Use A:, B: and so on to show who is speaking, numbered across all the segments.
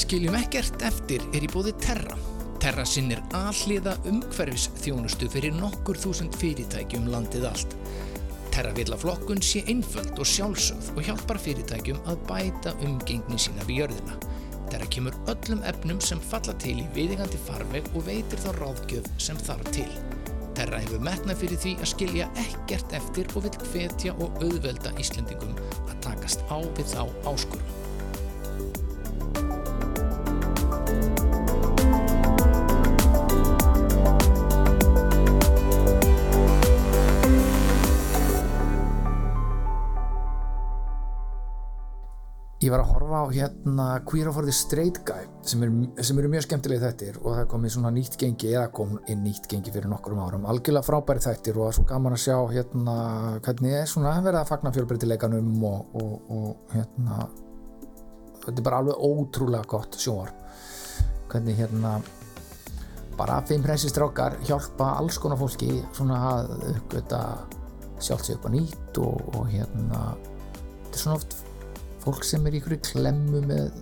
A: Skiljum ekkert eftir er í bóði Terra. Terra sinnir alliða umhverfis þjónustu fyrir nokkur þúsund fyrirtæki um landið allt. Terra vil að flokkun sé einföld og sjálfsögð og hjálpar fyrirtækjum að bæta umgengni sína við jörðina. Terra kemur öllum efnum sem falla til í viðingandi farveg og veitir þá ráðgjöf sem þarf til. Terra hefur metnað fyrir því að skilja ekkert eftir og vil hvetja og auðvelda Íslendingum að takast á við þá áskurum. Ég var að horfa á hérna Queer of the Straight Guy sem, er, sem eru mjög skemmtilegi þættir og það komið svona nýtt gengi eða kom inn nýtt gengi fyrir nokkrum árum algjörlega frábæri þættir og það er svo gaman að sjá hérna hvernig er svona verið að fagna fjölbreytileikanum og, og, og hérna þetta er bara alveg ótrúlega gott sjóar hvernig hérna bara fimm hreisistrákar hjálpa alls konar fólki svona að uppgöta sjálfsög upp á nýtt og, og hérna þetta er svona oft fólk sem er í ykkur klemmu með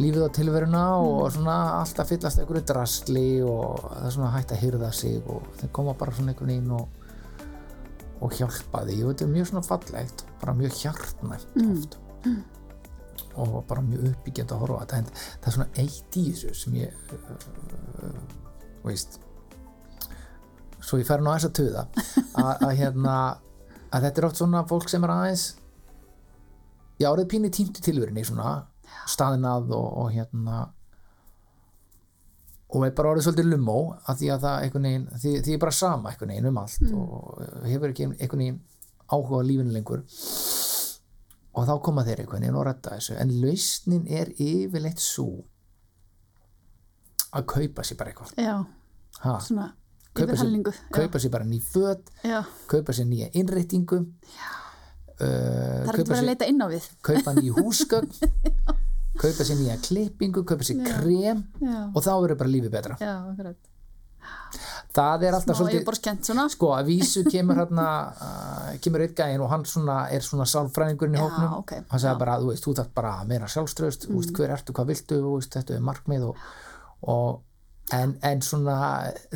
A: lífið og tilveruna og svona alltaf fyllast ykkur drasli og það er svona hægt að hyrða sig og þeir koma bara svona einhvern veginn og, og hjálpa því og þetta er mjög svona fallegt bara mjög hjartnægt oft og bara mjög uppbyggjandi að horfa á þetta en það er svona eitt í þessu sem ég uh, veist svo ég fer nú aðeins að tuða að, að hérna að þetta er oft svona fólk sem er aðeins já, orðið pínu týntu tilverinni svona, staðin að og, og hérna og er bara orðið svolítið lumó að því að það einhvern veginn, því, því er bara sama einhvern veginn um allt
B: Mm.
A: og hefur ekki einhvern veginn áhuga á lífinu lengur og þá koma þeir einhvern veginn og rætta þessu, en lausnin er yfirleitt svo að kaupa sér bara eitthvað
B: já,
A: ha,
B: svona
A: kaupa, sér,
B: yfirhalningu já.
A: kaupa sér bara ný föt
B: já,
A: kaupa sér nýja innreitingu uh,
B: það er ekki verið að leita inn á við
A: kaupa nýju húsgögn kaupa sér nýja klippingu kaupa sér krem
B: já,
A: og þá verður bara lífið betra
B: já, akkurat
A: það er alltaf
B: smá
A: svolítið
B: yfirborðskent svona
A: sko að vísu kemur hérna uh, kemur einn gæðin og hann svona er svona sálfræðingurinn í
B: Já,
A: hóknum
B: ok,
A: hann
B: já.
A: sagði bara þú veist, þú þarf bara meira sjálfströðst mm. veist, hver ertu, hvað viltu, þú veist, þetta er markmið og, og en, en svona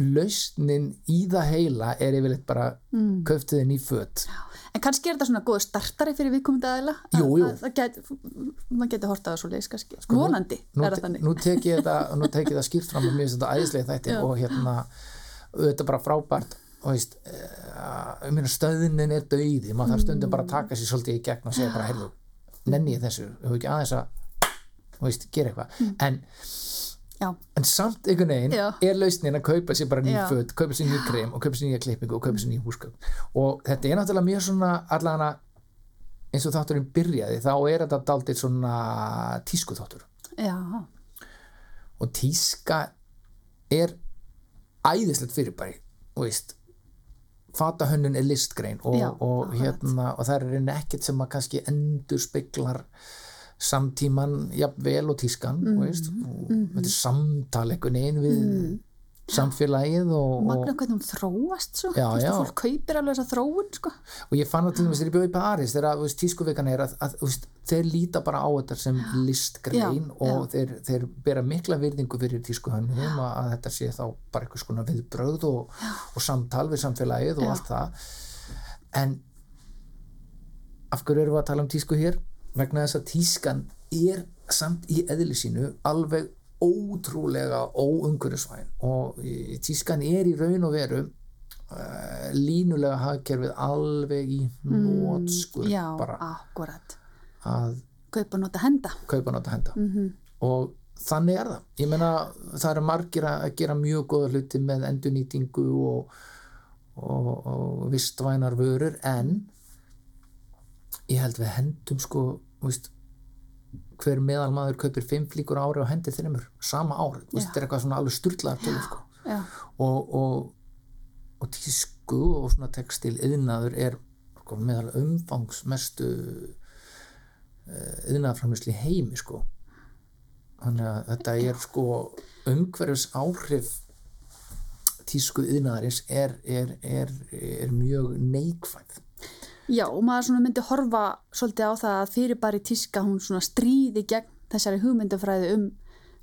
A: lausnin í það heila er yfirleitt bara mm. köftið inn í fött
B: en kannski er þetta svona góð startari fyrir viðkomandi aðeila
A: Jú, jú.
B: það get, maður getur hortað að svo leis kannski vonandi
A: nú,
B: er það þannig
A: nú tek ég þetta, nú tek ég það skýrt fram og mér finnst þetta æðislega þætti
B: Já.
A: og hérna þetta bara frábært og veist, uh, meina, stöðnin er dauði, maður þarf stundum bara að taka sér svolítið í gegn og segja bara, heyrðu, nenni ég þessu, hefur ekki aðeins að þú veist, gera eitthvað en,
B: já,
A: en samt einhvern veginn
B: Mm. Já.
A: er lausnin að kaupa sér bara nýjum
B: Já.
A: föt, kaupa sér nýjum krem og kaupa sér nýja klippingu og kaupa sér nýjum húsgögn og þetta er náttúrulega mjög svona allan að eins og þátturinn byrjaði þá er þetta daldið svona tísku þáttur
B: já,
A: og tíska er æðislegt fyrirbæri þú veist fatahönnun er listgrein og,
B: Já,
A: og,
B: akkurat.
A: hérna, og það er í rauninni ekkert sem að kannski endur speklar samtíman jafnvel og tískan mm, veist, og þetta er samtal einhvern veginn við samfélagið og, og,
B: magna hvernig hún þróast svo
A: Já,
B: Þú veist að
A: já.
B: fólk kaupir alveg þessa þróun sko.
A: og ég fann það til dæmis þegar ég bjóði í Paris þegar að, þú veist, tískuvekan er að, að þú veist, þeir líta bara á þetta sem listgrein
B: Já,
A: og Þeir, þeir bera mikla virðingu fyrir tískuhönnum að, að þetta sé þá bara einhvers konar viðbröð og, og samtal við samfélagið og
B: Já.
A: allt það en af hverju erum við að tala um tísku hér vegna þess að tískan er samt í eðli sínu alveg ótrúlega óungurusvæn og eh, tískan er í raun og veru uh, línulega hagkerfið alveg í nótskur
B: já,
A: bara
B: akkurat
A: að
B: kaupa nota henda Mhm,
A: kaupa nota henda -hmm. og þannig er það ég meina það eru margir að að gera mjög góða hluti með endurnýtingu og, og, og vistvænar vörur en ég held við hendum sko þú veist, hver meðalmaður kaupir fimm flíkur á ári og hendir þreymur sama ár, Þú veist,
B: Já.
A: þetta er eitthvað svona alveg sturlaðar tölur sko
B: já,
A: og, og, og tísku og svona textil yðnaður er sko, meðal umfangsmestu yðnaðframlisli heimi sko þannig að þetta er sko umhverfis áhrif tísku yðnaðarins er, er, er, er mjög neikvæð
B: Já, og maður svona myndi horfa svolítið á það að fyrirbæri tíska hún svona stríði gegn þessari hugmyndafræði um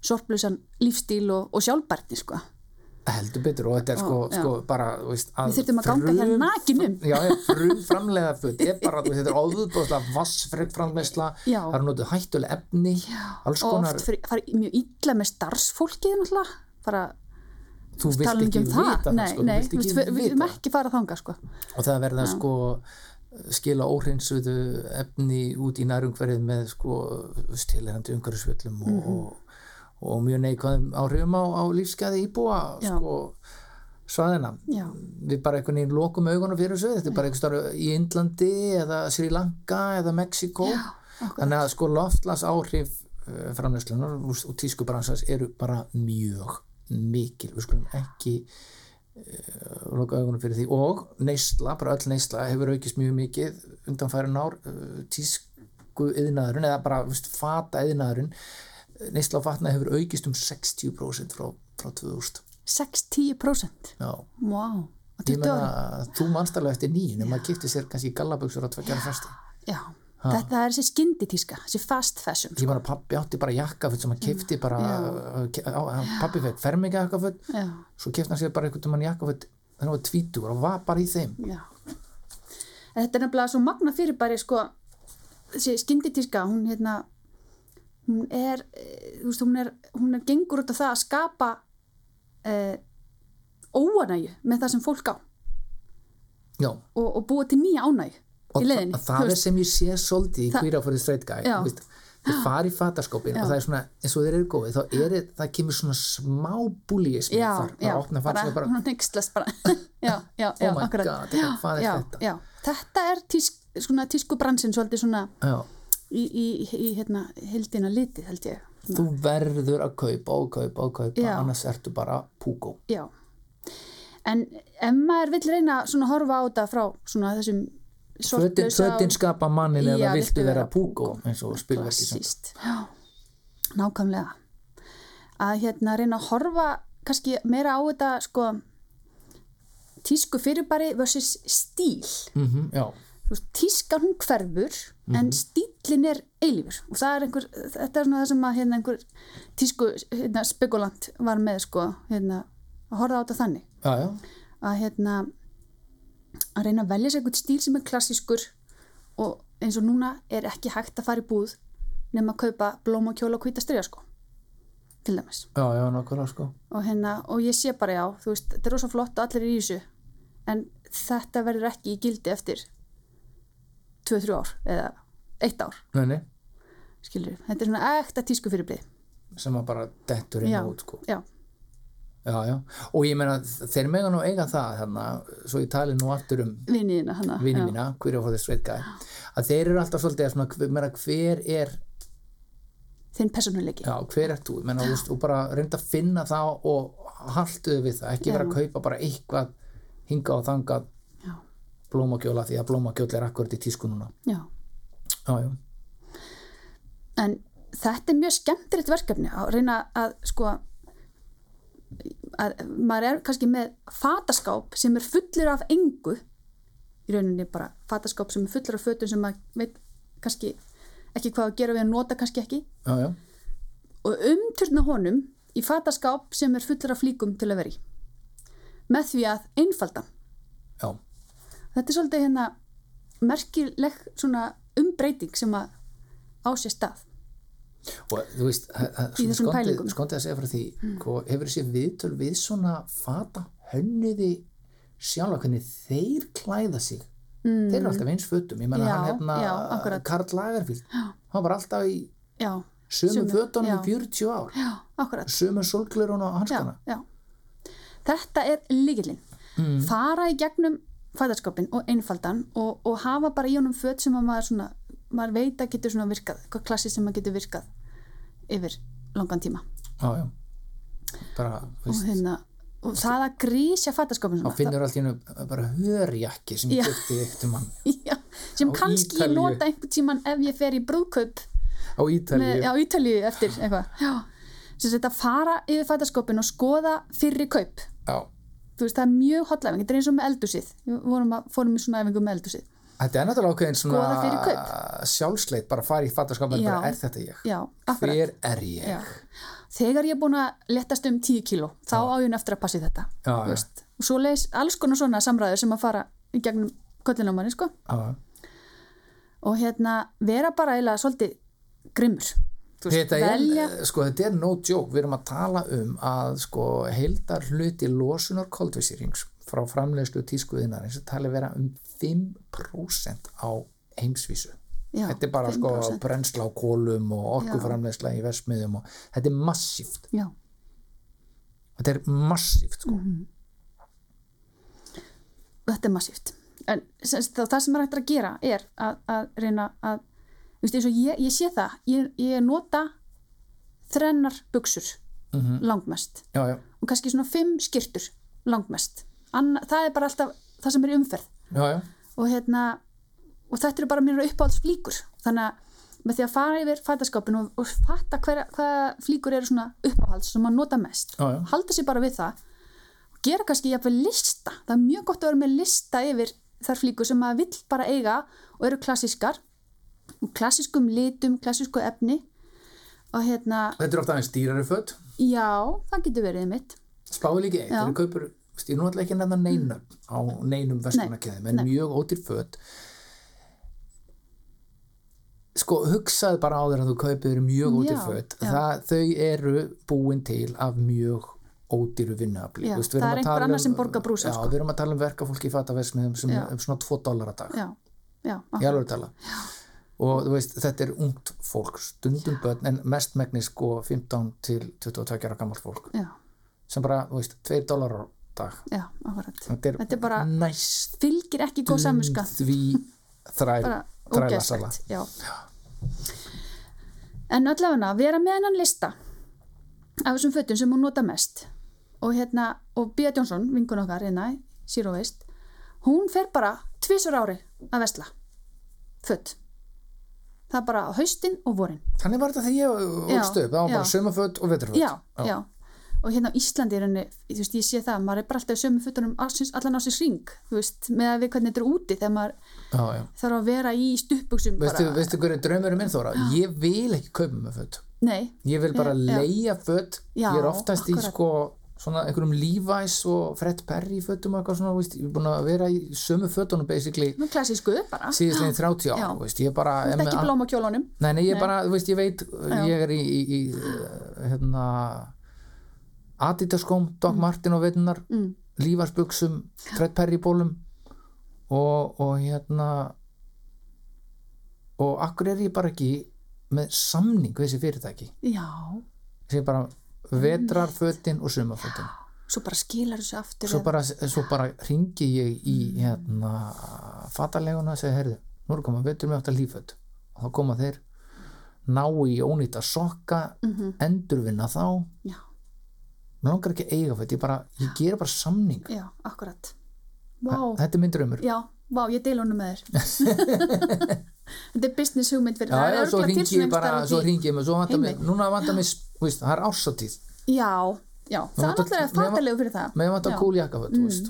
B: sorplusan lífstíl og, og sjálfbærni, sko.
A: heldur betur og þetta er sko,
B: Ó, já.
A: sko bara þú veist, að
B: Við þyrftum að ganga
A: frum-
B: hér nakin um.
A: já, frum framlega föt er bara, þú veist, þetta er óðbúðslega vassfrið framleysla,
B: Já.
A: það eru notuð hættuleg efni alls
B: Og
A: konar,
B: oft fyrir, fara mjög illa með starfsfólkið, náttúrulega. Fara,
A: þú vilt
B: tala
A: ekki
B: ekki um það.
A: vita það,
B: nei,
A: sko,
B: nei,
A: þú vilt ekki
B: við- við
A: vita
B: erum
A: það
B: ekki fara þangað, sko.
A: og það verða sko skila óhreinsuðu efni út í nærumhverfið með sko stilirandi umhverfisvöllum og,
B: Mhm.
A: og, og mjög neikvæðum áhrifum á, á lífsgæði íbúa
B: Já.
A: sko svaðina
B: Já.
A: við bara einhvern veginn lokum augunum fyrir þessu þetta er bara einhvers þar í Indlandi eða Sri Lanka eða Mexiko Já, þannig að sko eh, loftlas áhrif framleyslunar og tískubransans eru bara mjög mikil við skulum ekki og loka augunum fyrir því og neysla, bara öll neysla hefur aukist mjög mikið undanfærin ár uh, tísku yðnaðurinn eða bara veist, fata yðnaðurinn neysla á fatna hefur aukist um 60% frá, frá 2000
B: 6-10%.
A: Já.
B: Vá. Wow. Og
A: ég
B: 20 ára.
A: meina þú manst alveg eftir nýjun ef maður kipti sér kannski gallabuxur á tveggjara festi
B: Já. Þetta er þessi skinditíska, þessi fast fashion. sko.
A: ég meina pappi átti bara jakka föt sem hann kipti bara uh, ke- á, hann- pappi fekk ferminga jakka föt
B: Já.
A: svo kipti hann sér bara einhvern mann jakka föt þannig að hann var tvítur og var bara í þeim
B: Já. En Þetta er nefnilega svo magna fyrirbæri sko, þessi skynditíska, hún hérna, hún er, eh, þú veist, hún er, hún er gengur út af það að skapa eh, óanægju með það sem fólk á
A: Já.
B: og, og búa til nýja ánægju í
A: og
B: leiðinni.
A: það, það er sem ég sé svolítið í
B: Það-
A: queer áfærið straight guy
B: Já.
A: þú veist, þeir fara í fataskópin og það er svona, eins og þeir eru góði þá er, það kemur svona smá búlíismi
B: já,
A: þar,
B: já,
A: það opna
B: bara,
A: fataskópin bara, Oh
B: hún neykslast bara, já, já, já,
A: my
B: akkurat.
A: God, þetta- hvað er
B: já,
A: þetta?
B: Já, þetta er tísk, svona tískubransin svolítið svona
A: já,
B: í, í, í hérna, hildina litið held ég.
A: þú verður að kaupa og kaupa og kaupa,
B: Já.
A: annars ertu bara púkó
B: Já, en ef maður vill reyna svona að horfa á þetta frá svona þessum
A: fötin,
B: sortlausa
A: fötin sko,
B: og-
A: skapa mannin
B: Já,
A: eða viltu vera púkó eins og spilverki sem
B: Klassíst, já, nákvæmlega. Að hérna reyna að horfa kannski meira á þetta sko tísku fyrirbæri versus stíl.
A: mm já,
B: Þú veist, tískan hún hverfur
A: Mhm.
B: en stílin er eilífur og það er einhver, þetta er svona það sem að hérna einhver tísku hérna, spekulant var með sko, hérna að horfa á þetta þannig
A: já, já
B: að hérna að reyna að velja sér einhvern stíl sem er klassískur og eins og núna er ekki hægt að fara í búð nema að kaupa blóm og kjóla og hvita stryja sko til dæmis
A: Já, já, nákvæmlega sko.
B: og, hérna, og ég sé bara já, þú veist, þetta er rosa flott og allir er í þessu en þetta verður ekki í gildi eftir 2-3 ár eða 1 ár,
A: Nei, nei,
B: skilur þetta er svona ekta tísku fyrirblið
A: sem að bara dettur inn
B: já,
A: og út sko.
B: já,
A: Já, já. Og ég meina, þeir mega nú eiga það, þarna, svo ég tali nú aftur um
B: viniðina hana
A: vini
B: já.
A: mína, queer of the straight guy að þeir eru alltaf svolítið að svona, hver, meira, hver er,
B: þinn persónuleiki
A: já, hver er þú menna, veist, og bara reynda að finna það og haltuðu við það, ekki vera að kaupa bara eitthvað hinga og þangað
B: Já.
A: blómakjóla því að blómakjóla er akkurat í tísku núna
B: já.
A: já, já,
B: en þetta er mjög skemmtilegt verkefni að reyna að sko að maður er kannski með fataskáp sem er fullur af engu í rauninni bara fataskáp sem er fullur af fötum sem maður veit kannski ekki hvað að gera við að nota kannski ekki
A: já, já,
B: og umturna honum í fataskáp sem er fullur af flíkum til að vera í með því að einfalda
A: já.
B: þetta er svolítið hérna merkileg svona umbreyting sem að á sér stað
A: og þú veist það- það- svona
B: þessum
A: skondið-
B: pælingum. Mm.
A: skondið að segja frá því hvað, hefur þessi viðtöl við svona fata hönniði sjálfa hvernig þeir klæða sig mm. þeir eru alltaf eins fötum ég menna
B: Já,
A: hann hérna
B: já, akkurat.
A: Karl Lagerfield hann var alltaf í
B: já,
A: sömu
B: Sömu,
A: fötunum
B: já.
A: í 40 ár
B: já, akkurat
A: sömu sólglurun og hanskana
B: já, já. Þetta er líkilinn.
A: Mm.
B: Fara í gegnum fæðarskapin og einfaldan og, og hafa bara í honum föt sem að maður, svona, maður veit að getur svona virkað, hvað klassið sem maður getur virkað yfir langan tíma.
A: já, já. bara, þú
B: Og,
A: veist,
B: hérna, og það að grísja
A: þá
B: fæðarskapin svona,
A: finnur allt í hennu bara hörjakki sem um
B: Já.
A: ég gifti eftir mann
B: það, já, sem
A: Á
B: kannski
A: Ítalíu.
B: ég nota einhvern tíman ef ég fer í brúðkaup
A: á Ítalíu
B: með, á Ítalíu eftir eitthvað. Já, sem þetta fara yfir fæðarskapin og skoða fyrri kaup
A: Já.
B: þú veist, það er mjög hotlæfing, þetta er eins og með eldusið við vorum að, fórum í svona æfingu með eldusið
A: Þetta er náttúrulega ákveðin
B: Skoða fyrir
A: svona sjálfsleit, bara fara í fattaskapin,
B: Já.
A: bara er þetta ég?
B: já, akkurat
A: Hver er ég?
B: já. þegar ég er búin að lettast um 10 kíló þá á ég nú eftir að passi þetta
A: Já,
B: þú
A: já.
B: veist. og svo leis alls konar svona samræður sem að fara í gegnum kollin á manni sko.
A: Já.
B: og hérna vera bara eiginlega svolítið grimmur Þú veist,
A: Þetta er,
B: velja,
A: sko, þetta er no joke, við erum að tala um að sko, heildar hluti losunar koldvísýrings frá framleiðslu tískuðinarins er talið vera um 5% á heimsvísu.
B: já,
A: þetta er bara sko
B: 5%.
A: brennsla á kólum og orkuframleiðsla í versmiðum og þetta er massíft.
B: já,
A: Þetta er massíft sko.
B: Mm. þetta er massíft en sem sagt, það, það sem er hægt að gera er að, að reyna að þú veist, eins og ég, ég sé það, ég, ég nota þrennar buksur langmest
A: Já, já,
B: og kannski svona fimm skirtur langmest Anna, það er bara alltaf það sem er í umferð
A: já, já.
B: og hérna og þetta eru bara mér uppáhalds flíkur þannig að með því að fara yfir fætaskápin og, og fatta hver, hvaða flíkur eru svona uppáhalds sem maður nota mest
A: Já, já.
B: halda sér bara við það og gera kannski jafnvel lista það er mjög gott að vera með lista yfir þar flíkur sem maður vill bara eiga og eru klassískar og klassískum litum, klassísku efni og hérna,
A: Þetta er ofta aðeins dýrari föt,
B: já, það getur verið mitt
A: spáði líka eitt,
B: Já.
A: þegar þú kaupir, veist, ég er nú alltaf ekki að nefna neina á neinum verslunarkeðum, en
B: nei.
A: mjög ódýr föt. Sko, hugsaðu bara á þér að þú kaupir mjög ódýr
B: Já,
A: föt,
B: já.
A: það, þau eru búin til af mjög ódýru vinnuafli.
B: Já,
A: Þú við erum
B: það er
A: að
B: einhver
A: tala
B: annar
A: um-
B: sem borgar brúsann,
A: Já,
B: sko.
A: við erum að tala um verkafólki í fataversmiðum sem
B: Já.
A: um svona 2 dólar að dag.
B: já, já,
A: í
B: já,
A: alveg tala og þú veist, þetta er ungt fólk stundum börn, en mest megnis sko 15 til 22 ára gammalt fólk
B: já,
A: sem bara, þú veist, 2 dólar á dag
B: já akkurat
A: þetta er,
B: Þetta er bara-
A: næstum
B: fylgir ekki góð samviska
A: því þræl,
B: bara
A: þrælasala
B: ógeðslegt já. en allavega vera með hennan lista af þessum fötum sem hún nota mest og hérna, og Bía Jónsson vinkun okkar hérna, Zero Waste hún fer bara tvisur ári að vesla fött það er bara á haustin og vorin
A: þannig var þetta þegar ég
B: Já,
A: ólst upp það var bara
B: já.
A: sömaföt og vetraföt
B: já, já, og hérna á Íslandi er henni, þú veist, ég sé það, maður er bara alltaf í sömu fötunum ársins, allan ásins ring þú veist, með að við hvernig þetta er úti þegar maður
A: já, já.
B: þarf að vera í stuppuksum
A: Veistu, veistu hverju draumurinn minn Þóra? Ég vil ekki kaupa með föt
B: nei,
A: ég vil bara
B: Já.
A: leia föt
B: Já,
A: ég er oftast í
B: akkurat.
A: sko svona einhverjum Levi's og Fred Perry fötum og eitthvað svona, veist, ég er búin að vera í sömu fötunum basically
B: nú klassísku bara
A: síðastlegin 30 ára,
B: Já.
A: þú veist, ég bara
B: Þú ert ekki í blómakjólunum
A: Nei, nei, ég bara, þú veist, ég veit ég er í, í, í uh, hérna Adidaskóm, Doc Martin og veitunar mm. lífarsbuxum, Fred Perry bólum og, og hérna og akkur er ég bara ekki með samning við þessi fyrirtæki
B: Já,
A: þessi bara vetrarfötin og sumarfötin
B: svo bara skilar þessu aftur
A: svo bara, svo bara ringi ég í hérna fataleguna og segi, herðu, nú er komað vetur með aftur líföld og þá koma þeir ná í ónýta sokka
B: Mhm.
A: endurvinna þá
B: Já,
A: mér langar ekki að eiga fætt, ég bara ég gera bara samning,
B: já, akkurat Vá,
A: þetta er minn draumur
B: já, vá, ég deil honum með þér Þetta er business hugmynd fyrir
A: Já,
B: það er
A: já, svo
B: örugglega
A: ringi
B: til
A: ég
B: svona
A: bara, svo
B: einhvers staðar á því.
A: ringi ég mig, svo vantar mig,
B: Heimi.
A: núna vantar mig, veist, það er ársatíð,
B: Já, já, það er
A: vantar-
B: náttúrulega
A: mér va-
B: fatalegu fyrir það
A: með vantar
B: Já. Mm.
A: kúl jakkaföt, þú veist,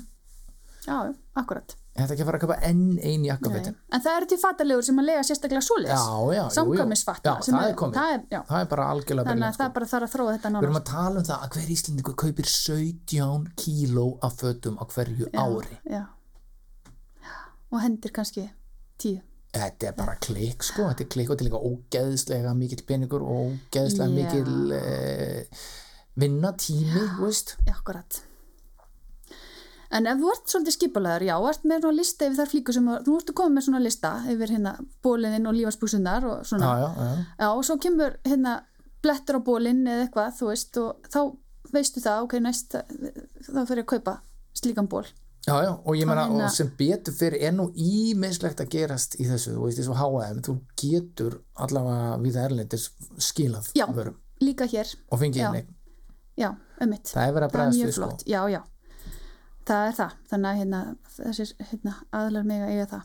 B: Já, já, akkurat
A: ég ætla ekki að fara að kapa enn ein
B: Nei.
A: jakkafötin,
B: En það eru til fatalegur sem að lega sérstaklega svoleiðis
A: Já, já, jú, jú.
B: Samkvæmisfatna
A: Já,
B: sem
A: það er komið.
B: það er, já,
A: það er bara algjörlega
B: Þannig
A: briljant,
B: að það bara þarf að þróa þetta
A: Við erum
B: nánast
A: að tala um það að hver Íslendingur kaupir 17 kíló af fötum á hverju ári.
B: Já Og hendir kannski tíu
A: Þetta er bara klikk sko, þetta er klikk og þetta er líka ógeðslega mikill peningur og ógeðslega
B: Já.
A: mikill eh, vinnatími, þú veist.
B: Akkurat. En ef þú ert svolítið skipulegar, já, ert með svona lista yfir þar flíku sem, þú ert að koma með svona lista yfir hérna bóliðinn og lífarsbúsunar og
A: Já,
B: svona.
A: já, já.
B: Já, og svo kemur hérna blettur á bólinn eða eitthvað, þú veist, og þá veistu það, ok, næst, þá fyrir að kaupa slíkan ból.
A: Já, já, og ég meina,
B: Þannig
A: og
B: að-
A: sem betur fyrir er nú ímislegt að gerast í þessu, þú veist, þessu HM, þú getur allavega við erlendis skilað
B: Já.
A: vörum
B: Líka hér,
A: og fengið
B: Já.
A: inn eign.
B: já, ömmitt.
A: Það er verið að
B: það er
A: bregðast
B: mjög
A: við sko.
B: flott, já, já. Það er það, þannig að hérna, þessir hérna, aðlar mega eiga það.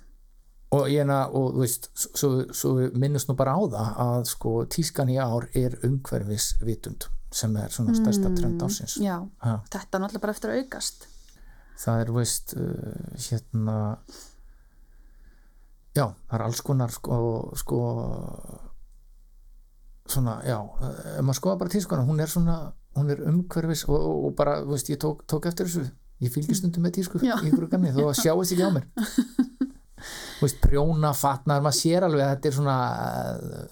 A: og ég hérna, og þú veist svo, svo við minnumst nú bara á það að sko tískan í ár er umhverfisvitund sem er svona stærsta trend ársins
B: Já,
A: ha.
B: þetta er náttúrulega bara eftir að aukast.
A: það er, þú veist, uh, hérna já, það er alls konar sko, sko svona, já eh, ef maður skoða bara tískuna, hún er svona hún er umhverfis og, og, og bara, þú veist, ég tók, tók eftir þessu ég fylgir stundum með tísku
B: Já.
A: í ykkur gamni þó að sjáist ekki á mér þú veist, prjóna, fatnar maður sér alveg að þetta er svona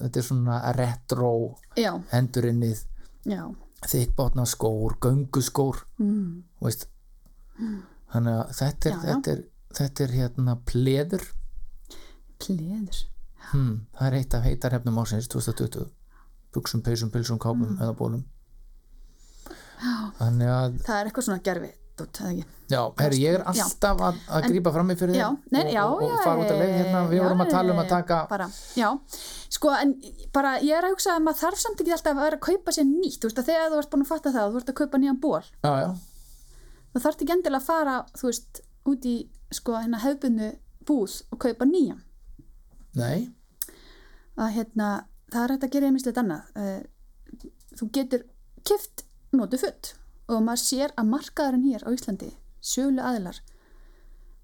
A: þetta er svona retro
B: já,
A: hendurinnið,
B: já
A: þykbátna skór gönguskór
B: mm.
A: þú veist þannig að þetta er,
B: Já, já.
A: þetta er, þetta er hérna pleður
B: pleður
A: hmm, það er eitt af heitarhefnum ásins 2020 buksum, peysum, pilsum, kápum
B: Hmm.
A: eða bólum já. þannig að
B: það er eitthvað svona gerfi dót, eða ekki
A: já, herri, ég er
B: Já.
A: alltaf að, að grípa fram í fyrir
B: já, nei,
A: og,
B: já,
A: og, og
B: já,
A: fara út að leið hérna við
B: já,
A: vorum að tala um að taka
B: bara, já, sko en bara ég er að hugsa að maður þarf samt ekki alltaf að vera að kaupa sér nýtt, þú veist að þegar þú ert búin að fatta það, þú ert að kaupa nýjan ból
A: já, já,
B: þú þarf ekki endilega að fara, þú veist út í, sko, hérna hefbundu búð og kaupa nýjan
A: nei,
B: að hérna, það er hægt að gera einmislegt annað Eh, þú getur kift notu futt og maður sér að markaðurinn hér á Íslandi sölu aðilar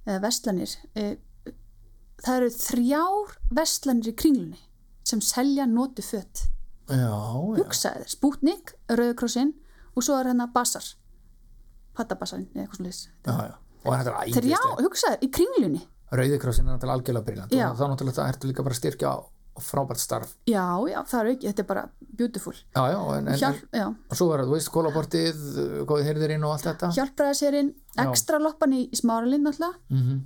B: eða vestlanir það eru þrjár vestlanir í kringlunni sem selja notu futt
A: já, já
B: hugsaðið, Sputnik, Rauðkrossin og svo er hérna Basar Pattabassarinn eða eitthvað svo leys
A: Já, já. og þetta er
B: þrjá,
A: ægislegt
B: hugsaðið, í kringlunni
A: rauðikrossin er náttúrulega algjörlega briljant
B: Já.
A: og þá náttúrulega ertu líka bara að styrkja frábært starf
B: já, já, það eru ekki, þetta er bara beautiful
A: já, já, en, en, en,
B: Hjálp, já,
A: og svo var það, þú veist, kólaportið góðið heyrðirinn og allt þetta
B: hjálpræðaserinn,
A: Já.
B: ekstra loppan í, í smáralinn alltaf
A: mm -hmm.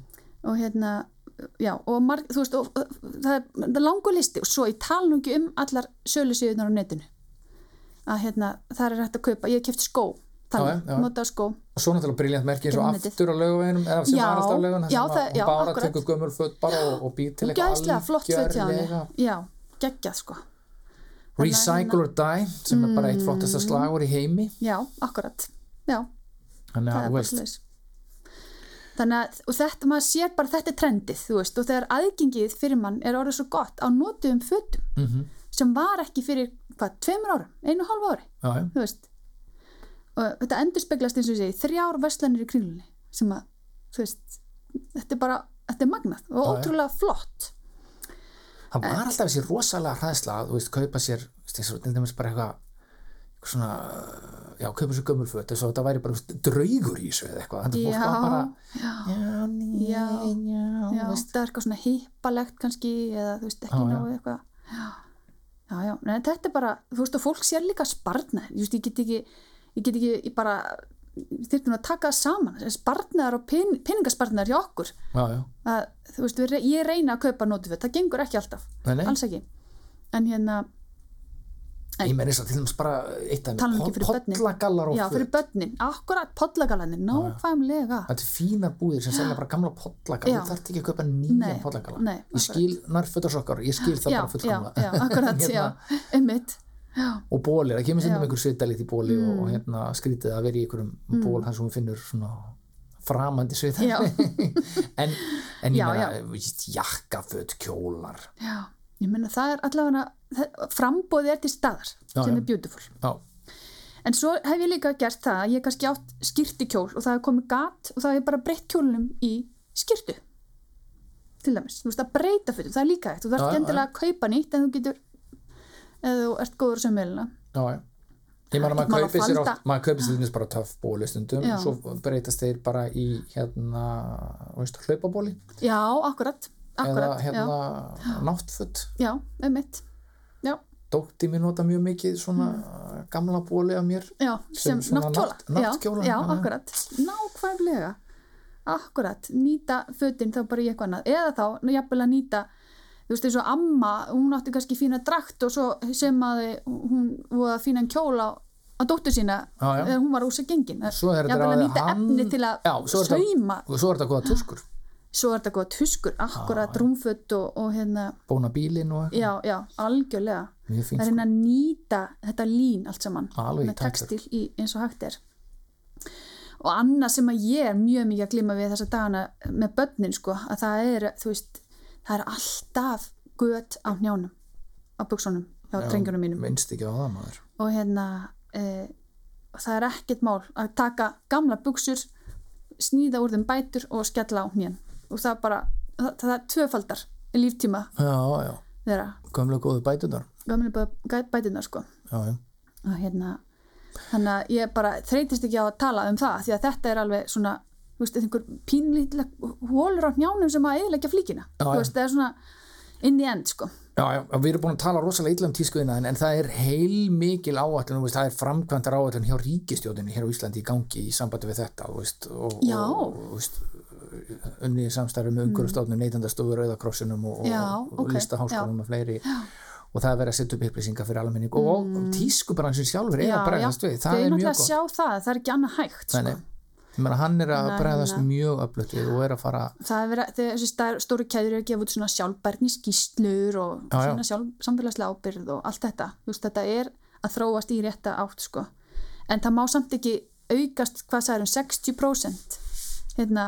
B: og hérna, já, og marg, þú veist, og, og, það er það er langur listi og svo ég tala nú ekki um allar sölusíðunar á netinu að hérna, það er hægt að kaupa, ég hef keft skó þannig,
A: Já, já.
B: nota skó
A: og svo náttúrulega briljant merki eins og
B: Gegnum netið.
A: aftur á laugaveginum eða sem
B: Já,
A: aðrast á laugaveginum
B: já,
A: þar sem
B: það-
A: að
B: já,
A: hún bara
B: akkurat.
A: tekur gömur föt bara og, og býr til
B: og gæðslega flott föt hjá henni
A: algjörlega
B: já, geggjað sko
A: recycle or die sem er
B: Mm.
A: bara eitt flottasta slagur í heimi
B: já, akkurat, já,
A: þannig
B: það
A: að,
B: er
A: þú
B: bara
A: veist,
B: slags þannig að, og þetta, maður sér bara þetta er trendið, þú veist, og þegar aðgengið fyrir mann er orðið svo gott á notuðum fötum
A: mhm,
B: sem var ekki fyrir, hvað, tveimur árum, einu og hálfu ári
A: já, já,
B: þú veist og þetta endurspeglast eins og ég segi þrjár verslanir í kringlunni sem að, þú veist, þetta er bara þetta er magnað og
A: Já, já.
B: ótrúlega flott
A: það var alltaf þessi rosalega hræðsla að, þú veist, kaupa sér þú veist, eins og til dæmis bara eitthvað eitthvað svona, já, kaupa sér gömur föt þess að þetta væri bara þú veist, draugur í þessu eða eitthvað, þannig að fólk var bara
B: já,
A: já, ný,
B: Já,
A: já,
B: já,
A: þú veist,
B: það er eitthvað svona hippalegt kannski eða þú veist, ekki
A: Já, já.
B: náðu eitthvað já, já, já, Nei, þetta er bara þú veist, og fólk sér líka sparnar þú veist, ég get ekki, ég get ekki ég bara, þyrftum að taka það saman sparnar og pen, peningasparnar hjá okkur
A: já, já,
B: að, þú veist, við re- ég reyna að kaupa nótuföt, það gengur ekki alltaf
A: nei, nei
B: alls ekki en hérna,
A: ég meina þess að til dæmis bara eitt af
B: Tala nú ekki fyrir börnin.
A: pollagallar og
B: já, fyrir börnin, akkurat podlagalanir, nákvæmlega
A: þetta er fína búðir sem selja bara gamla pollagallar
B: Já.
A: þú þarf ekki að kaupa
B: Nei,
A: nýjan pollagalla
B: nei,
A: ég skil nærfötarsokkar, ég skil það
B: já,
A: bara
B: já,
A: fullkomlega
B: já, akkurat,
A: Hérna.
B: já, einmitt já,
A: og bólir, það kemur
B: Já. Mm.
A: sindum einhver svitalit í bóli og, og hérna skrítið að vera í einhverjum ból þar sem hún finnur svona framandi svitalit
B: Já.
A: en, en ég
B: Já,
A: meina, þú veist, jakkaföt, kjólar
B: já, ég meina það er allavega það- frambóðið er til staðar
A: Já,
B: sem
A: já.
B: er beautiful
A: já,
B: en svo hef ég líka gert það, að ég hef kannski átt skýrtikjól og það hef komið gat og það hef ég bara breytt kjólnum í skýrtu til dæmis, þú veist að breyta fötum það er líka eitt, þú
A: Já,
B: þarft
A: já,
B: ekki endilega að kaupa nýtt en þú getur eða þú ert góður sem meilina
A: já, já ég meina,
B: Maður
A: maður kaupir sér
B: falda.
A: oft maður kaupir sér þess bara töff bóli stundum
B: Já.
A: og svo breytast þeir bara í hérna, þú veist, hlaupabóli
B: já, akkurat,
A: eða
B: akkurat já,
A: hérna náttföt
B: já, einmitt já,
A: dótti mér nota mjög mikið svona
B: Hmm.
A: gamla bóli af mér
B: Já, sem,
A: Sem
B: sem
A: svona
B: náttkjóla.
A: nátt- náttkjóla,
B: Já, já,
A: já.
B: akkurat. Nákvæmlega. Akkurat. Nýta fötin þá bara í eitthvað annað. Eða þá, nú, jafnvel að nýta, þú veist, eins og amma, hún átti kannski fína drakt og svo sem að hún voða fínan kjóla á dóttur sína
A: Já, já.
B: þegar hún var úr sér gengin.
A: Svo er þetta
B: Jafnvel að
A: ráðið
B: nýta
A: hann-
B: efni til að
A: Já, svo er þetta-
B: sauma.
A: og svo er þetta góða tuskur
B: Svo er þetta góða tuskur, akkurat, rúmfött og, og hérna,
A: bóna bílinn og eitthvað.
B: já, já, algjörlega.
A: mjög
B: Það
A: fínt
B: er
A: sko.
B: hérna að nýta þetta lín allt saman.
A: alveg í
B: með
A: taktur
B: textil í, eins og hægt er og annað sem að ég er mjög mikið að glima við þessa dagana með börnin sko, að það er, þú veist það er alltaf gött á njánum á buksunum, hjá
A: Já,
B: drengjunum mínum eh,
A: minnst ekki á það maður
B: og hérna e, það er ekkert mál að taka gamla buksur sníða úr þeim bætur og skella á hnjén og það bara, það, það er tvöfaldar líftíma
A: já, já,
B: þeirra
A: gömlega góðu bætunar
B: gamli bætunar sko
A: já, já,
B: og hérna þannig að ég bara þreytist ekki á að tala um það því að þetta er alveg svona þú veist, einhver pínlítlega hólur á njánum sem að eðilegja flíkina
A: Já,
B: þú
A: já.
B: veist, það er svona inn í end sko
A: já, já, og við erum búin að tala rosalega illa um tískuðina en, en það er heil mikil áætlun þú veist, það er framkvæmdar áætlun hjá ríkistjóðinu hér á Íslandi í gangi í sambandi við þetta þú veist, og,
B: Já.
A: og, og þú veist, unni samstarfi með umhverfstofnum neytandastofur, auðakrossunum og, og-
B: Já,
A: og
B: ok,
A: listaháskólanum og fleiri já. og það er verið að setja upp upplýsingar fyrir almenning og, og tískubransin sjálfur er
B: Mm. Já,
A: að bregðast
B: já,
A: við, það er mjög
B: náttúrulega
A: gott
B: að sjá það, það er ekki annað hægt sko.
A: Nei, nei. Ég meina, hann er að
B: Þannig að
A: bregðast
B: hérna-
A: mjög öflut við og er að fara
B: það er verið, að- þessi stær- stóru kæður er að gefa út svona sjálfbærni skýslur og
A: Já, já.
B: svona sjálf, samfélagslega ábyrð og allt þetta, þú veist, þetta er að þróast í rétta átt, sko en það má samt ekki aukast hvað það er um 60% hérna,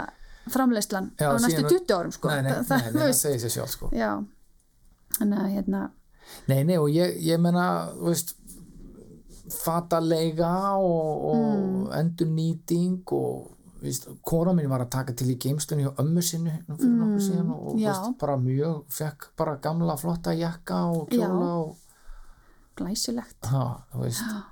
B: framleiðslan
A: Já,
B: á næstu
A: síðan-
B: 20 árum, sko
A: nei, nei,
B: það,
A: nei,
B: það,
A: nei,
B: þú
A: það
B: veist,
A: segir sér sjálf sko.
B: já þannig að, hérna,
A: nei, nei, og ég, ég menna veist, fatalega og, og
B: Mm.
A: endurnýting og veist, kona mín var að taka til í geimstunni hjá ömmu sinni nú fyrir mm, nokkuð síðan og
B: já.
A: veist, bara mjög, fekk bara gamla flotta jakka og kjóla
B: Já.
A: og
B: glæsilegt
A: ha, þú veist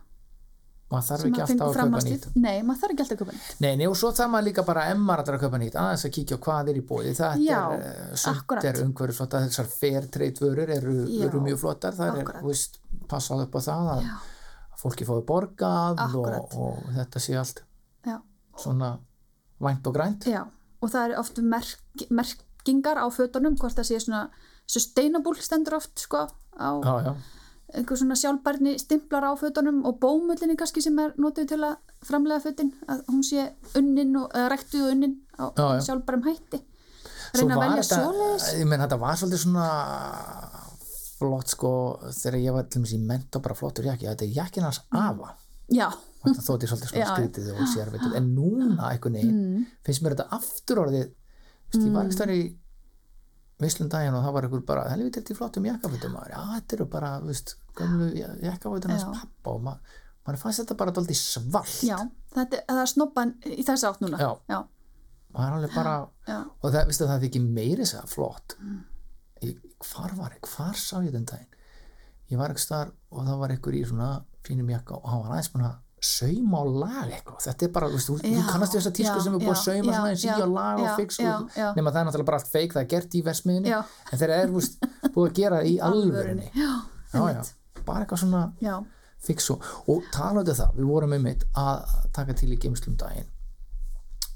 A: maður þarf ekki
B: maður fengur
A: alltaf að kaupa
B: framhaldið.
A: nýtt
B: nei, maður þarf ekki alltaf að kaupa nýtt
A: Nei, nei, og svo þarf maður líka bara ef maður ætlar að kaupa nýtt, aðeins að kíkja á hvað er í bóði þetta
B: Já,
A: er, eh, sumt
B: akkurat.
A: er umhverfis flottar, þessar fair trade vörur eru,
B: Já,
A: eru mjög flottar það er,
B: akkurat.
A: þú veist, passað upp á það að
B: Já.
A: fólki fái borgað
B: Akkurat.
A: og, og þetta sé allt
B: já,
A: svona vænt og grænt
B: Já, og það eru oft merk, merkingar á fötunum, hvort það sé svona sustainable stendur oft sko, á
A: Já, já,
B: einhver svona sjálfbærni stimplar á fötunum og bómullinni kannski sem er notið til að framlega fötin, að hún sé unnin og eða rektuð og unnin á
A: Já, já.
B: sjálfbærum hætti.
A: Svo
B: Reyna að
A: var
B: velja
A: þetta-
B: svoleiðis.
A: Ég menn, þetta var svolítið svona flott sko þegar ég var til dæmis í ment og bara flottur jakki, þetta er jakkin hans
B: Mm.
A: afa
B: Já,
A: þetta þótti svolítið svona
B: Já, Hmm. já.
A: skrítið og sérvitið en núna einhvern veginn finnst mér þetta aftur orðið veist,
B: Hmm.
A: ég var ekki stær í vislum daginn og það var einhver bara helviti þetta í flottum jakkafutum maður, já þetta eru bara veist, gömlu jakkafutum hans
B: Já.
A: pappa og ma maður fannst þetta bara daldið svalt
B: já, þetta, er- það er snobban í þess átt núna.
A: Já.
B: já,
A: maður er alveg bara
B: já.
A: og það, veistu, það þykir meiri sér flott
B: Mm.
A: ég, hvar var ég, hvar sá ég þenn daginn ég var ekki starf og það var einhver í svona fínum jakka og hann var aðeins búin að sauma á lag eitthvað þetta er bara, veistu, þú- þú
B: Já,
A: kannast við þessa tísku
B: já,
A: sem er búin að
B: já,
A: sauma
B: já,
A: svona eins í
B: já,
A: á lag
B: já,
A: og fix
B: já,
A: og,
B: já.
A: nema það er náttúrulega bara allt feik það er gert í versmiðinni
B: Já.
A: en þeir eru veist, búin að gera það í alvörinni já, já,
B: einmitt.
A: bara eitthvað svona
B: já.
A: fix og, og talaðu það, við vorum einmitt að taka til í geimslum daginn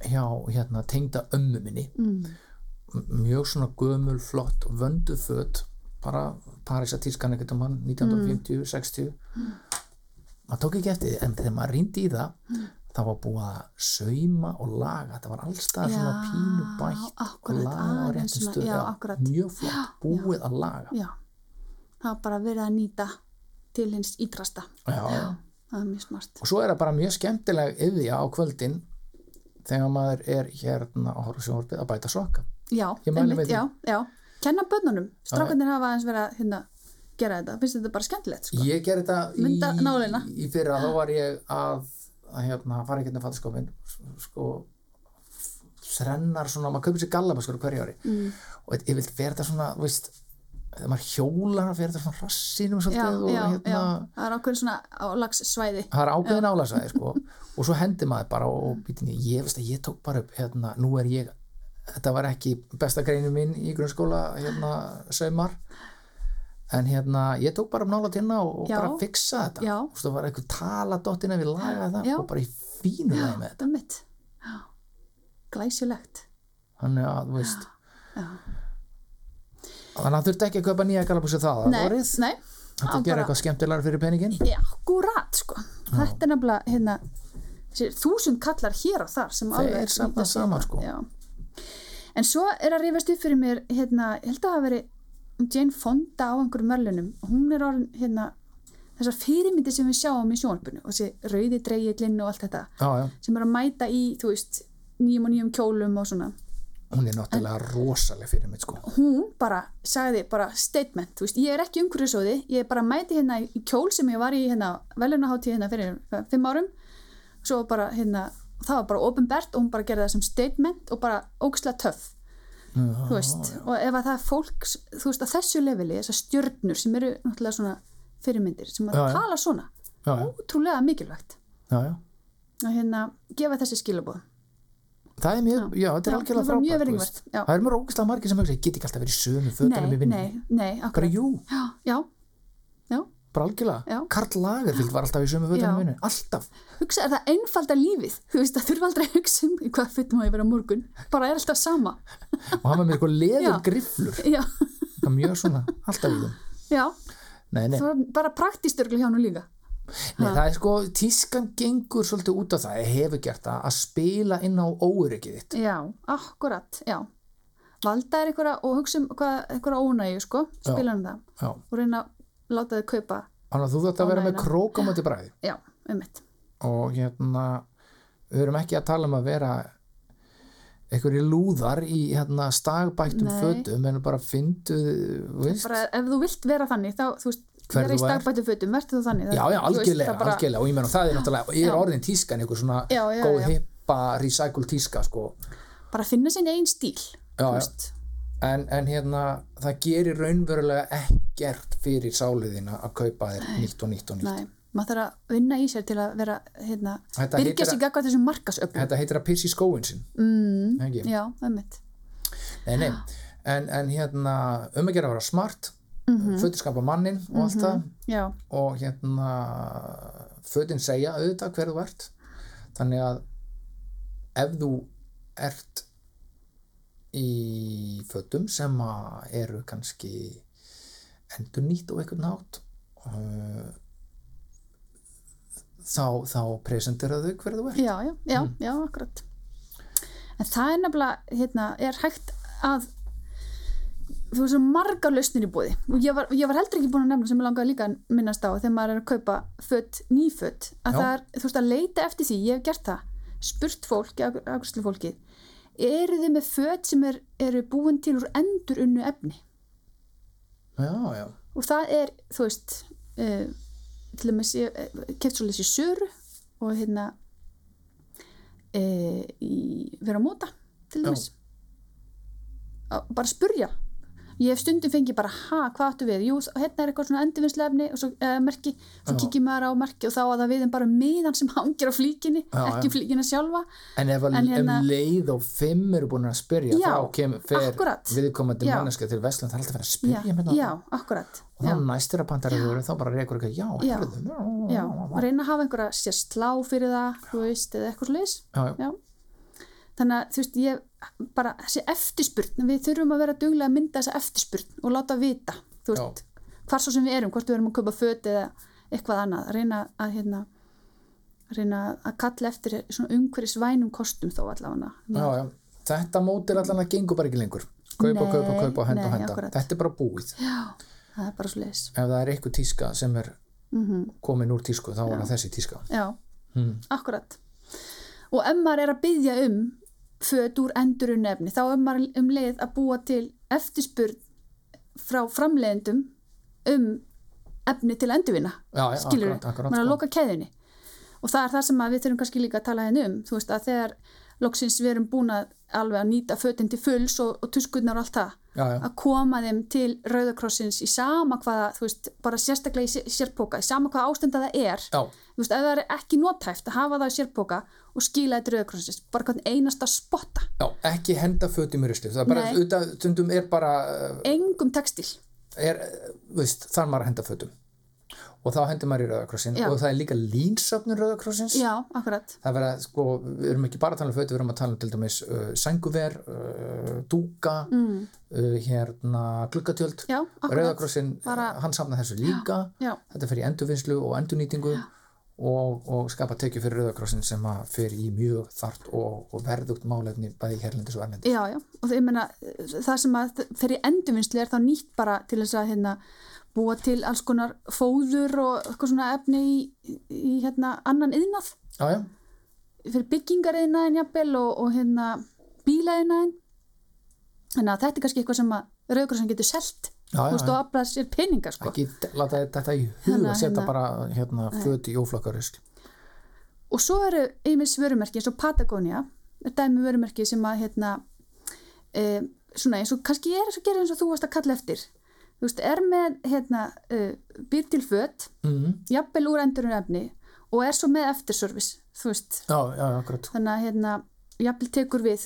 A: hjá hérna tengda ömmu minni
B: Mm.
A: M- mjög svona gömul, flott og vöndu föt bara Parisa tískan ekkert um hann
B: Mm.
A: 1950, 60 maður tók ekki eftir því, en þegar maður rýndi í það
B: Mm.
A: það var búið að sauma og laga, það var allstað svona
B: Já,
A: pínu bætt og
B: akkurat,
A: laga á
B: aðeins
A: réttum
B: svona,
A: stöð
B: já, akkurat.
A: mjög flott, búið að laga
B: Já, það var bara verið að nýta til hins ídrasta.
A: já.
B: Það er mjög smart.
A: og svo er það bara mjög skemmtileg yðja á kvöldin þegar maður er hérna á horfusjónvarpið að bæta sokka
B: Já,
A: Ég mæli með því.
B: já, já. Kenna bönnunum. Strákandir hafa aðeins verið að hérna, gera þetta. Finnst þetta bara skemmtilegt, sko.
A: ég gerði þetta
B: Mynda nálina.
A: í, í fyrra þá var ég að, að hérna, fara ekki að fatta skopin sko þrennar svona, maður kaupir sér gallabaskur á hverju ári mm. og ég vilt vera þetta svona þú veist, þegar maður hjólar að vera þetta svona rassinum
B: Já,
A: svolítið og
B: já,
A: hérna
B: já. Það er ákveðin svona álagssvæði.
A: það er ákveðin álagsæði sko og svo hendi maður bara og býtinni ég veist að ég tók bara upp hérna, nú er ég þetta var ekki besta greinu mín í grunnskóla hérna saumar en hérna ég tók bara um nála tina og, og
B: Já.
A: bara fixa þetta
B: Já.
A: og svo var eitthvað tala dottina við laga það
B: Já.
A: og bara í fínu lagi með þetta
B: Þetta er mitt. Já. Glæsilegt.
A: þannig að þú veist
B: Já.
A: þannig að þurfti ekki að kaupa nýja galabúsi það
B: Nei,
A: árið
B: nei.
A: þetta
B: Á,
A: gera
B: bara-
A: eitthvað skemmtilegar fyrir peningin
B: Já, akkurat, sko. Þetta er nefnilega, hérna, þessi þúsund kallar hér og þar sem alveg
A: safna
B: nýta sér
A: saman,
B: það.
A: sko.
B: Já. En svo er að rifast upp fyrir mér, hérna, ég held að það hafi verið Jane Fonda á einhverjum mörlunum. Hún er orðin, hérna, þessar fyrirmyndir sem við sjáum í sjónvarpinu og þessi rauði dreigillinn og allt þetta
A: já, já.
B: sem er að mæta í, þú veist, nýjum og nýjum kjólum og svona.
A: hún er náttúrulega rosaleg fyrir mitt sko
B: Hún bara sagði bara statement, þú veist, ég er ekki umhverjusóði, ég bara mæti hérna í kjól sem ég var í hérna velunaháttíð hérna fyrir fimm árum svo bara hérna það var bara ofinbert og hún bara gerði það sem statement og bara ógislega töff þú veist, og ef að það er fólk þú veist, á þessu leveli, þessar stjörnur sem eru náttúrulega svona fyrirmyndir sem að
A: Já, já.
B: tala svona,
A: já, já,
B: ótrúlega mikilvægt
A: já, já.
B: að hérna, gefa þessi skilabóð
A: það er mjög, já, þetta er
B: Já,
A: algjörlega
B: það var mjög
A: frábært þú
B: virðingvert,
A: veist.
B: já.
A: það er mjög ógislega margir sem hugsa, ég get ekki alltaf verið í sömu fötunum
B: nei,
A: um í vinninni,
B: nei, nei,
A: bara
B: akkurat
A: jú,
B: já, já, já,
A: bara algjörlega
B: Já.
A: Karl Lagerfield var alltaf í sömu fötunum
B: Já.
A: í vinninni, alltaf
B: hugsa, er það einfalda lífið þú veist, það þurfa aldrei að hugsa um hvað fyrir maður að vera á morgun, bara er alltaf sama
A: og hann var með eitthvað leður
B: Já.
A: grifflur
B: já,
A: Það er mjög svona, alltaf í þeim
B: já,
A: nei, nei,
B: það var bara praktiskt örglu hjá nú líka
A: nei, það er sko tískan gengur svolítið út af það, ég hefur gert það að spila inn á óryggið þitt
B: Já, akkurat, já. Valda er einhverja og hugsa um hvað- einhverja ónægju, sko, spila um það
A: já,
B: og reyna að láta þau kaupa,
A: þannig að þú þátt að vera með
B: Ánægjuna.
A: krókamöti bræði
B: já, um mitt.
A: og hérna við erum ekki að tala um að vera einhverju lúðar í hérna stagbættum
B: Nei.
A: fötum en bara fyndu veist,
B: Bara ef þú vilt vera þannig, þá, þú veist,
A: Hver
B: vera
A: þú
B: í
A: ert.
B: stagbætu fötum, verður þú þannig?
A: já já
B: þú veist,
A: algjörlega,
B: það bara-
A: algjörlega og ég menn og það er náttúrulega, ég er
B: Já.
A: orðin tískan einhver svona
B: Já, já,
A: góð
B: já.
A: hippa recycle tíska sko
B: Bara finna sinni einn stíl,
A: Já, já.
B: þú veist.
A: en, en hérna það gerir raunverulega ekkert fyrir sáliðina að kaupa þér nýtt og nýtt og nýtt
B: Nei, maður þarf að vinna í sér til að vera, hérna,
A: Þetta heitir
B: byrja sig
A: að-
B: gagvað þessum markasöfnum.
A: þetta heitir að pissa í skóin sinn
B: Mm,
A: Ekki?
B: já, um mitt.
A: Nei, nei, en, en hérna um að gera að vera smart mm
B: Mhm.
A: -hmm. mannin og allt það
B: Já,
A: og hérna fötin segja auðvitað hver þú ert þannig að ef þú ert í fötum sem að eru kannski endur nýtt og eitthvað nátt uh, þá, þá presentera þau hver þú ert
B: já, já, já,
A: Mm.
B: já, akkurat. En það er nefnilega, hérna, er hægt að þú veist, eru margar lausnir í búði og ég var, ég var heldur ekki búin að nefna sem ég langaði líka að minnast á þegar maður er að kaupa fött, nýfött, að
A: Já.
B: það er, þú veist, að leita eftir því, ég hef gert það spurt fólk, afgjörslu fólkið eru þið með fött sem er, eru búin til úr endur unnu efni
A: já, já,
B: og það er, þú veist uh, til dæmis ég eh, keft svo lesi söru og hérna uh, í vera á móta til
A: Já.
B: dæmis Að bara spurja ég hef stundum fengið bara, ha, hvað áttu við jú, hérna er eitthvað svona endurvinnslefni og svo uh, merki, svo
A: Já.
B: kikið maður á merki og þá að það við en bara miðan sem hangir á flíkinni
A: Já,
B: ekki
A: já.
B: flíkina sjálfa
A: En ef,
B: En
A: en
B: hérna-
A: ef leið og fimm eru búin að spyrja
B: Já,
A: þá kemur fer
B: akkurat.
A: viðkomandi
B: Já.
A: manneska til Vestlund það er alltaf að vera að
B: já,
A: spyrja um hérna. með
B: já,
A: það
B: akkurat
A: og
B: já.
A: þá næstir að pantara þau þá bara reykur eitthvað, já,
B: Já.
A: heyrðu,
B: Já, og reyna að hafa einhverja sér slá fyrir það, þú veist, eða eitthvað slags.
A: Já, já.
B: Þannig að, þú veist, ég bara, þessi eftirspurn, við þurfum að vera duglega að mynda þessa eftirspurn og láta vita, þú veist, hvar svo sem við erum, hvort við erum að kaupa föt eða eitthvað annað, reyna að, hérna, reyna að kalla eftir svona umhverjusvænum kostum þó allavega.
A: já, já. Þetta mótil allan að gengur bara ekki lengur kaupa,
B: Nei,
A: kaupa, kaupa, henda,
B: nei,
A: henda
B: akkurat.
A: þetta er bara búið,
B: Já, það er bara slags.
A: ef það er eitthvað tíska sem er
B: Mm
A: komin úr tísku þá er það þessi tíska
B: Já,
A: Hmm.
B: akkurat og ef maður er að byggja um föt úr endurun efni þá er maður um leið að búa til eftirspurn frá framleiðendum um efni til að endurvinna
A: já, já,
B: skilur
A: akkurat, akkurat,
B: maður er að
A: sko.
B: loka keðinni og það er það sem að við þurfum kannski líka að tala henni um þú veist að þegar loksins við erum búin að alveg að nýta fötin til fulls og, og tuskurnar og allt það
A: já, já,
B: að koma þeim til rauðakrossins í sama hvaða, þú veist, bara sérstaklega í sér- sérpóka, í sama hvaða ástenda það er
A: já,
B: þú veist, ef það er ekki nótæft að hafa það í sérpóka og skila þetta rauðkrossins bara hvern einasta spotta,
A: já, ekki henda fötum í rusli það er bara,
B: Nei.
A: auðvitað, stundum er bara eh,
B: engum textil
A: er, eh, veist, þar maður að henda fötum og þá hendur maður í rauðakrossin
B: Já.
A: og það er líka línsöfnun rauðakrossins
B: já, akkurat,
A: það verða, sko, við erum ekki bara að tala um fötu, við erum að tala um til dæmis uh, sænguver uh, dúka mm. uh, hérna, gluggatjöld
B: já, akkurat
A: rauðakrossin,
B: Bara-
A: hann safna þessu líka
B: já,
A: þetta fer í endurvinnslu og endurnýtingu og, og skapa tekið fyrir rauðakrossin sem að fer í mjög þart og, og verðugt málefni bæði hérlendis og erlendis
B: já, já og það, ég meina, það sem að fyrir endurvinnslu er þá nýtt bara til þess að hérna, búa til alls konar fóður og eitthvað svona efni í, í hérna, annan yðnað
A: já, já,
B: fyrir byggingariðnaðin jafnvel og, og hérna bílaðinaðin þannig að þetta er kannski eitthvað sem að rauðkrossin getur selt
A: Já, já,
B: þú veist
A: já.
B: og aflað sér peninga sko
A: ekki láta þetta í hug
B: Þannig
A: að
B: að
A: setja
B: hérna-
A: bara hérna, föt í óflokkarusl
B: og svo eru einmitt vörumerki eins og Patagonia er dæmi um vörumerki sem að hérna, e, svona eins og kannski er eins og gerir eins og þú varst að kalla eftir þú veist, er með hérna, e, býr til föt
A: mm.
B: jafnvel úr endurinn efni og er svo með eftirservice þú veist,
A: já, já, akkurat
B: þannig að hérna, jafnvel tekur við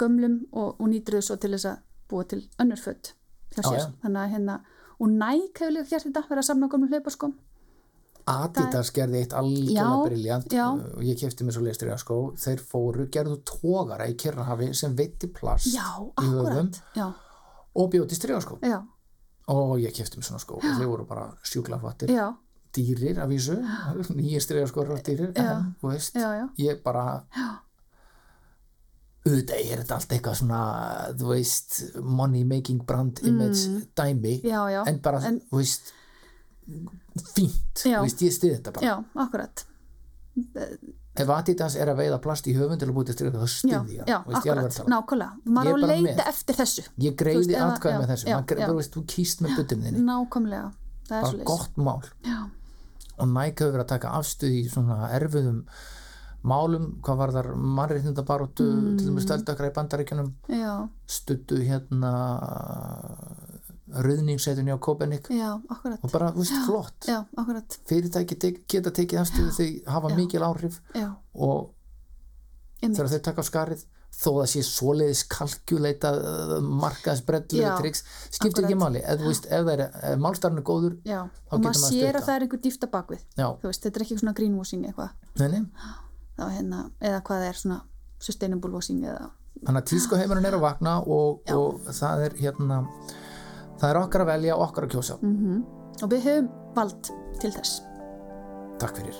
B: gömlum og, og nýtir þau svo til þess að búa til önnur fött hjá
A: Já,
B: sér
A: já.
B: þannig að hérna, og næk hefur líka gert þetta verið að samna á gömlum hlaupaskóm
A: Adidas gerði eitt
B: Já,
A: algjörlega briljant uh,
B: já.
A: og ég kefti mér svo leistur í aðskó þeir fóru, gerðu tógara í Kyrrahafi sem veitti plast
B: já,
A: höfum.
B: akkurat já,
A: og bjóti striðaskó
B: já,
A: sko. og ég kefti mér svona skó og þeir voru bara sjúklafattir
B: já,
A: dýrir af vísu, nýjir striðaskó eru dýrir,
B: Já.
A: en þú veist
B: já, já.
A: ég bara
B: Já.
A: auðvitað er þetta allt eitthvað svona þú veist, money making brand image dæmi
B: Mm. Já, já,
A: en bara,
B: en-
A: þú veist fínt,
B: Já.
A: þú veist, ég stið þetta bara
B: já, akkurat
A: ef Adidas er að veiða plast í höfund til að búti styrka, þá
B: já,
A: stið ég
B: já,
A: það, þú veist, ég alveg að
B: akkurat,
A: tala
B: nákvæmlega
A: Ég er
B: maður á að
A: bara
B: leita
A: með.
B: eftir þessu
A: ég
B: Þú veist,
A: greiði
B: ef að-
A: atkvæði
B: já,
A: með þessu,
B: já,
A: Maður gre-
B: já. Mm,
A: þú veist, þú kýst með butum þinni
B: nákvæmlega, það er
A: bara
B: svo leys
A: gott mál
B: já,
A: og Nike hefur verið að taka afstuð í svona erfiðum málum, hvað var þar mannreitnindabaróttu, mm. til dæmis stöldökra í bandaríkjunum
B: já,
A: stuttu hérna rauðningssætunni á Kopenhik
B: já, akkurat
A: og bara, þú veist, flott
B: já, akkurat,
A: fyrirtæki tek, geta tekið afstöðu þegar hafa mikil áhrif
B: já,
A: og
B: Einmitt.
A: þegar þau taka á skarið þó það sé svoleiðis uh, kalkjuleita markaðsbrellu
B: Já,
A: triks skiptir ekki máli, ef þú veist, ef það er ef málstarinn er góður,
B: já
A: Þá
B: og
A: getur
B: maður
A: maður
B: sér
A: stutt
B: að það er einhver dýfta bakvið
A: já,
B: þú veist, þetta er ekki svona greenwashing eitthvað
A: neini
B: þá hérna, eða hvað er svona sustainable washing eða
A: þannig að tískuheimurinn er að vakna og,
B: Já.
A: og það er hérna það er okkar að velja og okkar að kjósa
B: -hmm. og við höfum vald til þess
A: Takk fyrir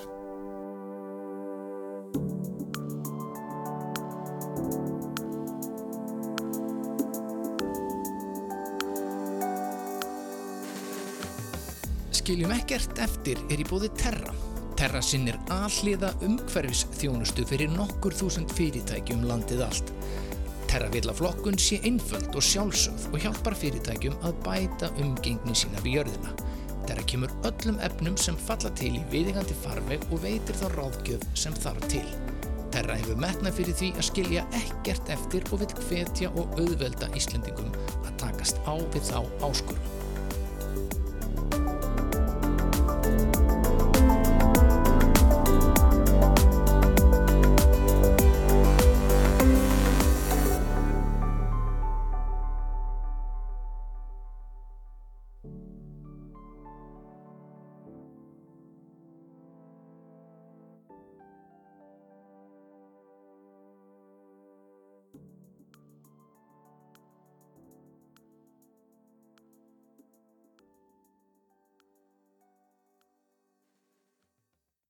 C: Skiljum ekkert eftir er í bóði Terra. Terra sinnir alliða umhverfis þjónustu fyrir nokkur þúsund fyrirtæki um landið allt. Terra vill að flokkun sé einföld og sjálfsögð og hjálpar fyrirtækjum að bæta umgengni sína við jörðina. Terra kemur öllum efnum sem falla til í viðingandi farveg og veitir þá ráðgjöf sem þarf til. Terra hefur metnað fyrir því að skilja ekkert eftir og vill hvetja og auðvelda Íslendingum að takast á við þá áskurum.